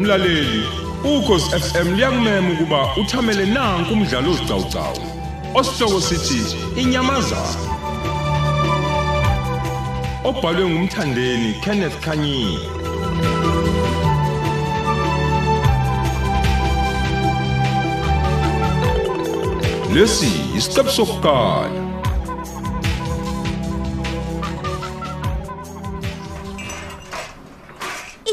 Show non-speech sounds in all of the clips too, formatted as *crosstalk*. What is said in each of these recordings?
mlaleli ukhosi FM liyakumema ukuba uthamele nanku umdlalo ozicawucawu osihloko sithi inyamazana obhalwe ngumthandeni Kenneth Khanyile lesi isiqebu sokuqala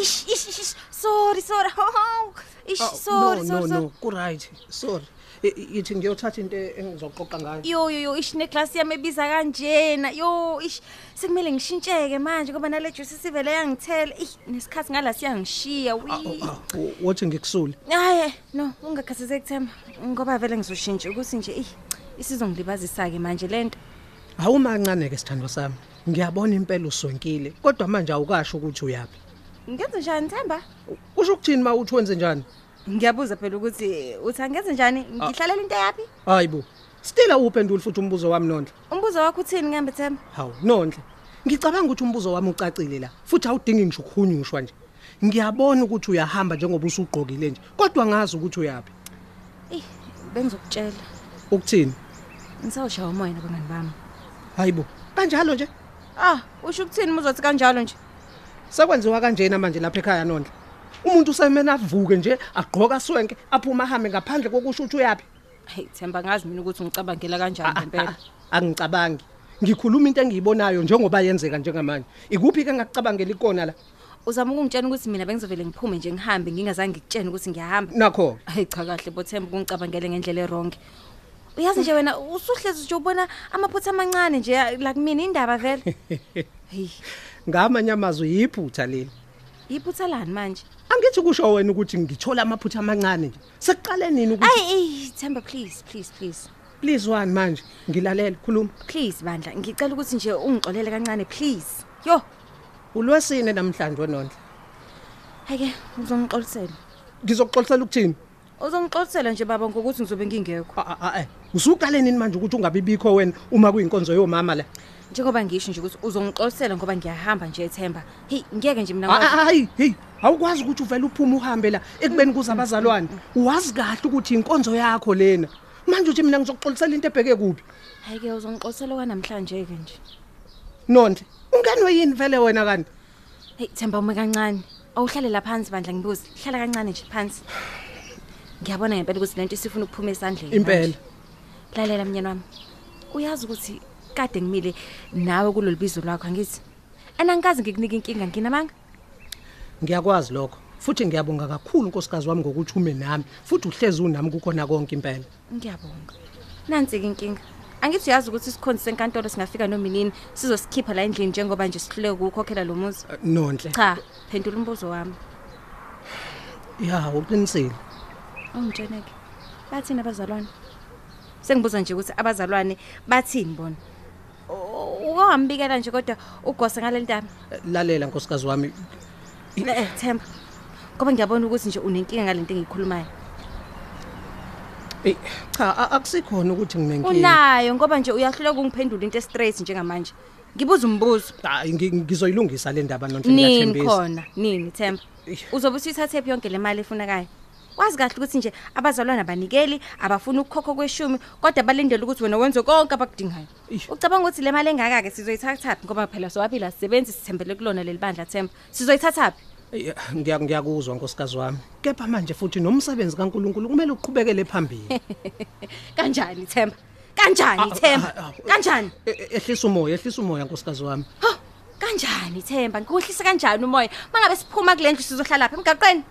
Ish, ish, ish, ish. Sorry, sorry. *laughs* Oh, ish, Oh, sorry, no, sorry. no sorry. no kuright sorry I- i- yithi ngiyothatha into engizoxoxa ngayo Yo, yo, yo, ish neclass yami ebiza kanjena. Yo, ish sekumele ngishintsheke manje ngoba nale juice sivele yangithela. Eh, nesikhathi ngala siyangishiya. Wi. Ah, wo- wothi ngikusule Hayi, no, ungakhathazeki Themba. Ngoba vele ngizoshintsha ukuthi nje eh isizongilibazisa ke manje lento. awumancane ke sithando sami ngiyabona impela usonkile kodwa manje awukasho ukuthi uyaphi Ngenze njani Themba? usho ukuthini uma uthi wenze njani Ngiyabuza phela ukuthi uthi angenze njani? Ah. Ngihlalela into yapi? hayi bo stila uphendule futhi umbuzo wami nondla Umbuzo wakho uthini ngambe Themba? hawu nondla ngicabanga ukuthi umbuzo wami ucacile la futhi awudingi ngisho ukhunyushwa nje ngiyabona ukuthi uyahamba njengoba usugqokile nje kodwa ngazi ukuthi uyaphi Eh, bengizokutshela. ukuthini Ngisawushaya umoya nabangani bami. hayi bo kanjalo nje Ah, usho ukuthini muzothi kanjalo nje? sekwenziwa kanjena manje lapha ekhaya nondla umuntu usemele avuke nje agqoka swenke aphuma ahambe ngaphandle kokusho ukuthi uyaphi Hey Themba ngazi mina ukuthi ngicabangela kanjani impela. Ah, angicabangi ngikhuluma into engiyibonayo njengoba yenzeka njengamanje ikuphi ke ngakucabangela ikona la Uzama ukungitshena ukuthi mina bengizovele ngiphume nje ngihambe ngingazange ngikutshene ukuthi ngiyahamba. nakho Hey cha kahle bo Themba ungicabangele ngendlela errong. Uyazi nje wena usuhlezi nje ubona amaphutha amancane nje la kumina indaba *laughs* vele. Hey, ngamanye amazwi yiphutha leli iphutha lani manje? angithi kusho wena ukuthi ngithola amaphutha amancane nje sekuqale nini ukuthi Ay, ey Themba please, please, please. please wani manje ngilalela khuluma Please bandla, ngicela ukuthi nje ungixolele kancane please. Yo, ulwesine namhlanje wenondla hayike uzongixolisela. ngizokuxolisela ukuthini Uzongixolisela nje baba ngokuthi ngizobe ngingekho. a a a usuqale nini manje ukuthi ungabibikho wena uma kuyinkonzo yomama la njengoba ngisho nje ukuthi uzongixolisela ngoba ngiyahamba nje ethemba heyi ngiyeke nje mina ngikwazi- Ah, hayi hey awukwazi ukuthi uvele uphume uhambe la ekubeni kuza abazalwane uwazi kahle ukuthi inkonzo yakho lena manje uthi mina ngizokuxolisela into ebheke kuphi ah. hhayi-ke uzongixolisela okwanamhlanje-ke nje nonhle ungenwe yini vele wena kanti heyi themba ume kancane awuhlalela phansi bandla ngibuze hlala kancane nje phansi ngiyabona ngempela ukuthi le nto isifuna ukuphuma esandleni impela manje. lalela mnyana wami uyazi ukuthi kade ngimile nawe kulolu bizo lwakho angithi and angikazi ngikunika inkinga nginamanga ngiyakwazi lokho futhi ngiyabonga kakhulu nkosikazi wami ngokuthi ume nami futhi uhlezi unami kukhona konke impela ngiyabonga nansi-ke inkinga angithi uyazi ukuthi isikhonzi senkantolo singafika nominini sizosikhipha la endlini njengoba nje sihluleke ukukhokhela lo muzi Eh, nonhle cha phendula umbuzo wami ya uqinisile ongitsheneke bathini abazalwane sengibuza nje ukuthi abazalwane bathini bona ukawambikela nje kodwa ugose ngale ntami Eh, lalela nkosikazi wami e-e themba ngoba ngiyabona ukuthi nje unenkinga ngale nto engiyikhulumayo Eh, cha a- akusikhona ukuthi nginenkinga unayo ngoba nje uyahluleka ungiphendula into e-straight njengamanje ngibuza umbuzo hayi ngi- ngizoyilungisa le ndaba nonhle nini ngiyathembisa khona nini themba Eish. uzobe usuyithathephi yonke le mali efunekayo wazi kahle ukuthi nje abazalwane abanikeli abafuni ukukhokho kweshumi kodwa balindele ukuthi wena wenze konke abakudingayo Eish. ucabanga ukuthi le mali engaka-ke sizoyithathaphi ngoba phela sowaphila sisebenzi sithembele kulona leli bandla themba sizoyithathaphi Ya, ngiya- ngiyakuzwa nkosikazi wami kepha manje futhi nomsebenzi kankulunkulu kumele uqhubekele *laughs* phambili *laughs* kanjani themba kanjani Ah, ah, themba ah. kanjani E- e- ehlisa umoya ehlisa umoya nkosikazi wami ho kanjani themba ngikuhlise kanjani umoya uma ngabe siphuma kule ndlu sizohlalaphi emgaqweni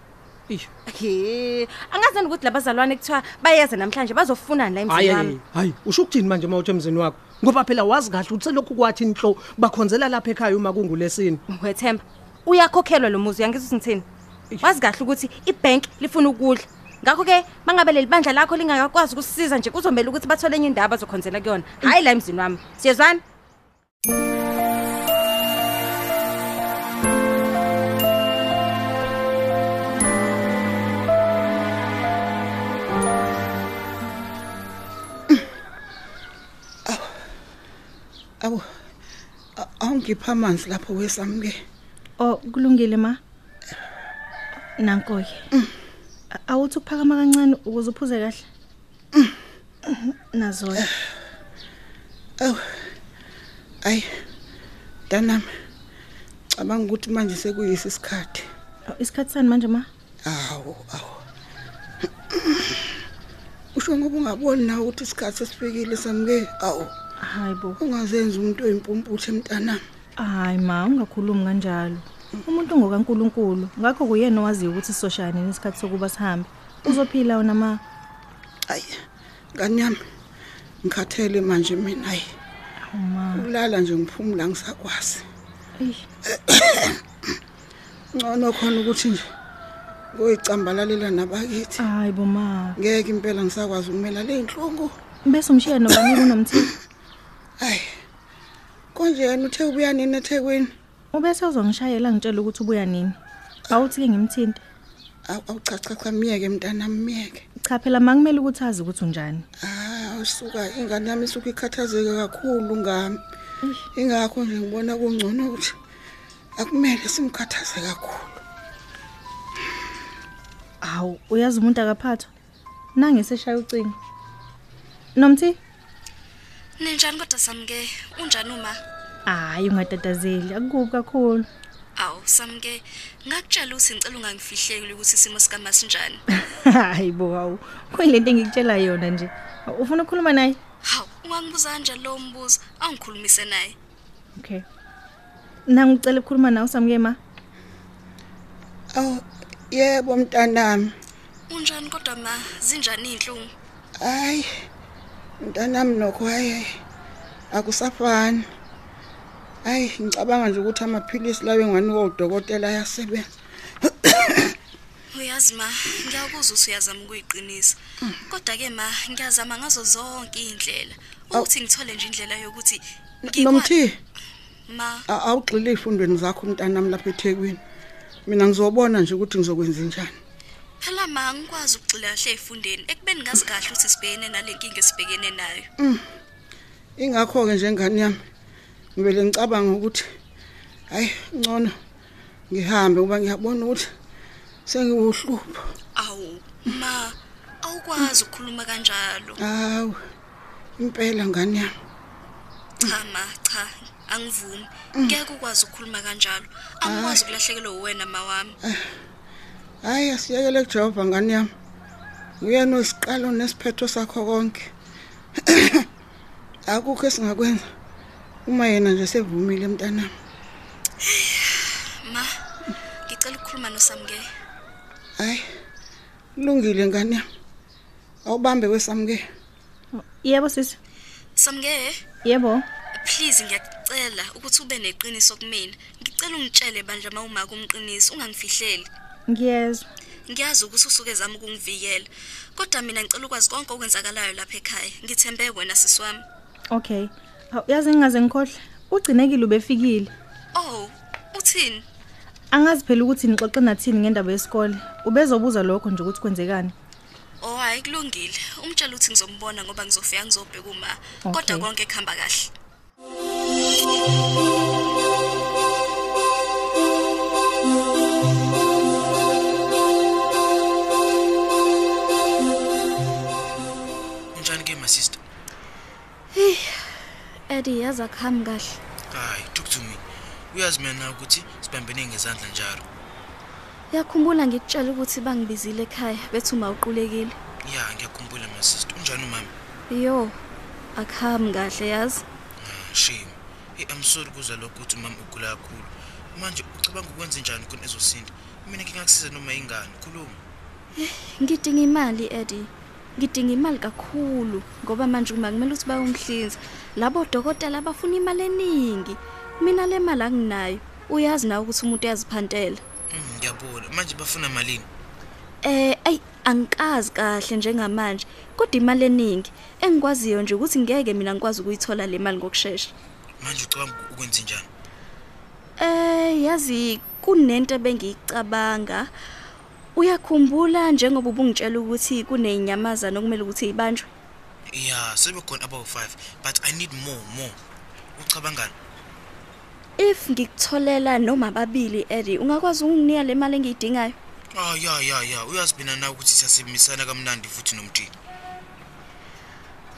Eish, he angazani ukuthi labazalwane kuthiwa bayeza namhlanje bazofunani la hhayi emzini wami hhayi, hhayi usho ukuthini manje uma uthi emzini wakho ngoba phela wazi kahle ukuthi selokhu kwathi inhlo bakhonzela lapha ekhaya uma kungulesini Ngethemba uyakhokhelwa lo muzi uyangizwa ngithini? Eish. Wazi kahle ukuthi ibank lifuna ukudla. Ngakho ke mangabe leli bandla lakho lingakakwazi ukusisiza nje kuzomela ukuthi bathole enye indaba zokhonzela kuyona. Hayi la emzini wami. Siyezwana? Awu a- awungipha amanzi lapho wesamke. Oh kulungile ma. nanko ke awuthi ukuphakama kancane ukuze uphuze kahle nazo Aw. Ay. Danami. Cabanga ukuthi manje sekuyisi isikhathi. Oh, isikhathi sani manje ma Awu, awu. Usho ngoba ungaboni na ukuthi isikhathi sesifikile samke. Awu, hayi bo ungazenzi umuntu oyimpumputhe mntanami. hayi ma ungakhulumi kanjalo umuntu ngokaNkuluNkulu ngakho kuyena owaziyo ukuthi sisoshayane nesikhathi sokuba sihambe uzophila wona ma Ay. Ngani yami. Ngikhathele manje mina hayi. Awu, ma Ulala nje ngiphumula ngisakwazi. Eish. *coughs* Ngcono khona ukuthi nje ngoyicambalalela nabakithi. hayi bo ma Ngeke impela ngisakwazi ukumela le inhlungu. bese umshiya nobani kunomthini Hayi. Konje yena uthe ubuya nini eThekwini? ubese uzongishayela ngitshela ukuthi ubuya nini awuthi ke ngimthinte Aw- Awu cha cha cha miyeke mntanami miyeke. cha phela ma kumele ukuthi azi ukuthi unjani Ah, usuka ingane yami isuka ikhathazeke kakhulu ngami. Ingakho nje ngibona kungcono ukuthi akumele simkhathaze kakhulu. hawu uyazi umuntu akaphathwa nange seshaya ucingo nomthi Ninjani kodwa samke? Unjani uma? hayi ungatatazeli akukubi kakhulu *laughs* Awu samke, ngakutshela ukuthi ngicela ungangifihleki ukuthi isimo sikama sinjani. hayi bo hawu kuyilento engikutshela yona nje Hawu, ufuna ukukhuluma naye Hawu, ungangibuza kanjani lo mbuzo? Angikhulumise naye. okay nangicela ukukhuluma nawe samke ma Aw, yebo mntanami. Unjani kodwa ma? Zinjani inhlungu? Hayi. Mntanami nokwaye akusafani. Hayi, ngicabanga nje ukuthi amaphilisi lawe ngani kodokotela yasebenza. Uyazi ma, ngiyakuzwa ukuthi uyazama ukuyiqinisa. Kodwa ke ma, ngiyazama ngazo zonke indlela ukuthi ngithole nje indlela yokuthi ngikwa- Nomthi. ma A- awugxile ezifundweni zakho mntanami lapha eThekwini. Mina ngizobona nje ukuthi ngizokwenza njani. phela ma ngikwazi ukugxila kahle efundeni ekubeni ngazi kahle ukuthi sibhekene nalenkinga esibhekene nayo. Ingakho ke njengani yami ngibele ngicabanga ukuthi hayi ngcono ngihambe ngoba ngiyabona ukuthi sengiwuhlupho. Awu, ma awukwazi ukukhuluma kanjalo. Hawu. Impela ngani yami. Cha ma, cha, angivumi. Ngeke ukwazi ukukhuluma kanjalo. Angikwazi ukulahlekelwa uwena mawami. Hayi asiyekele kuJehova ngani yami. Uyena osiqalo nesiphetho sakho konke. *clears throat* Akukho esingakwenza uma yena nje sevumile mntanami. Ma, ngicela ukukhuluma noSamke. Hayi. Kulungile ngani yami. Awubambe kwesamke. yebo sisi Samke, yebo please ngiyakucela ukuthi ube neqiniso kumina. Ngicela ungitshele banje uma uma kumqiniso, ungangifihleli. ngiyezwa Ngiyazi ukuthi usuke ezama ukungivikela. Kodwa mina ngicela ukwazi konke okwenzakalayo lapha ekhaya. Ngithembe wena sisi wami. okay Hawu, yazi ngingaze ngikhohle ugcinekile ubefikile Oh, uthini? angazi phela ukuthi nixoxe nathini ngendaba yesikole ubezobuza lokho nje ukuthi kwenzekani Oh hayi kulungile. Umtshela uthi ngizombona ngoba ngizofika ngizobheka uma. Kodwa Okay. konke kuhamba kahle. Unjani ke my sister? Eddie yazi akuhambi kahle. Hayi, talk to me. Uyazi mina ukuthi sibambene ngezandla njalo. Yakhumbula ngikutshela ukuthi bangibizile ekhaya bethi uma uqulekile. Yeah, ngiyakhumbula my sister. Unjani umama? Yo, akuhambi kahle yazi. Ah, Shame. Hey, I'm sorry kuza lokho ukuthi umama ugula kakhulu. Manje ucabanga ukwenza njani khona ezosinda? Mina ngingakusiza noma ingane. Khuluma. Ngidinga imali Eddie. Ngidinga imali kakhulu ngoba manje uma kumele ukuthi bayongihlinza, labo dokotela bafuna imali eningi. Mina le mali anginayo. Uyazi na ukuthi umuntu uyaziphantela. Mm, ngiyabona. Manje bafuna malini? Eh, ayi angikazi kahle njengamanje. Kodwa imali eningi engikwaziyo nje ukuthi ngeke mina ngikwazi ukuyithola le mali ngokusheshsha. Manje ucabanga ukwenza njani? Eh yazi kunento bengiyicabanga. Uyakhumbula njengoba ubungitshela ukuthi kunezinyamaza nokumele ukuthi ibanjwe. Yeah, sebekhona abawu-5, but I need more, more. Ucabangani? If ngikutholela noma babili Eri, ungakwazi ukunginika le mali engiyidingayo? Ah ya ya ya uyazibina na ukuthi siyasimisana kamnandi futhi nomtini.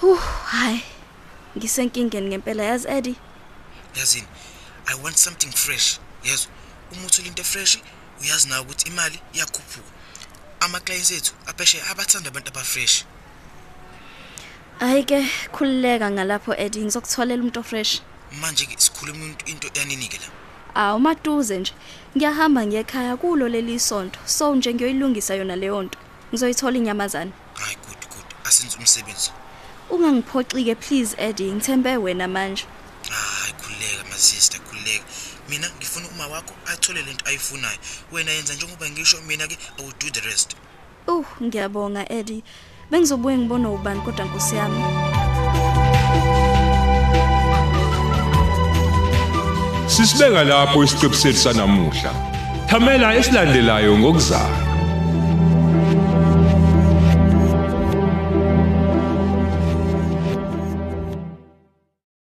Hu, hayi. Ngisenkingeni ngempela yazi Eddie. Yazini I want something fresh. Yes. Uma uthola into fresh uyazi na ukuthi imali iyakhuphuka. Ama clients ethu apheshe abathanda abantu abafresh. Hayi ke khululeka ngalapho Eddie ngizokutholela umuntu fresh. Manje ke sikhuluma into- into yaninike la. Awu maduze nje. Ngiyahamba ngekhaya kulo leli sonto. So nje ngiyoyilungisa yona leyo nto. Ngizoyithola inyamazana. Hayi good good asenze umsebenzi. Ungangiphoxike please Eddie ngithembe wena manje. Hayi khuleka my sister khuleka. Mina ngifuna uma wakho athole lento ayifunayo. Wena yenza njengoba ngisho mina ke I will do the rest. Uh ngiyabonga Eddie. Bengizobuye ngibone ubani kodwa nkosi yami. Sisibeka lapho isiqebu sethu sanamuhla. Thamela esilandelayo ngokuzayo.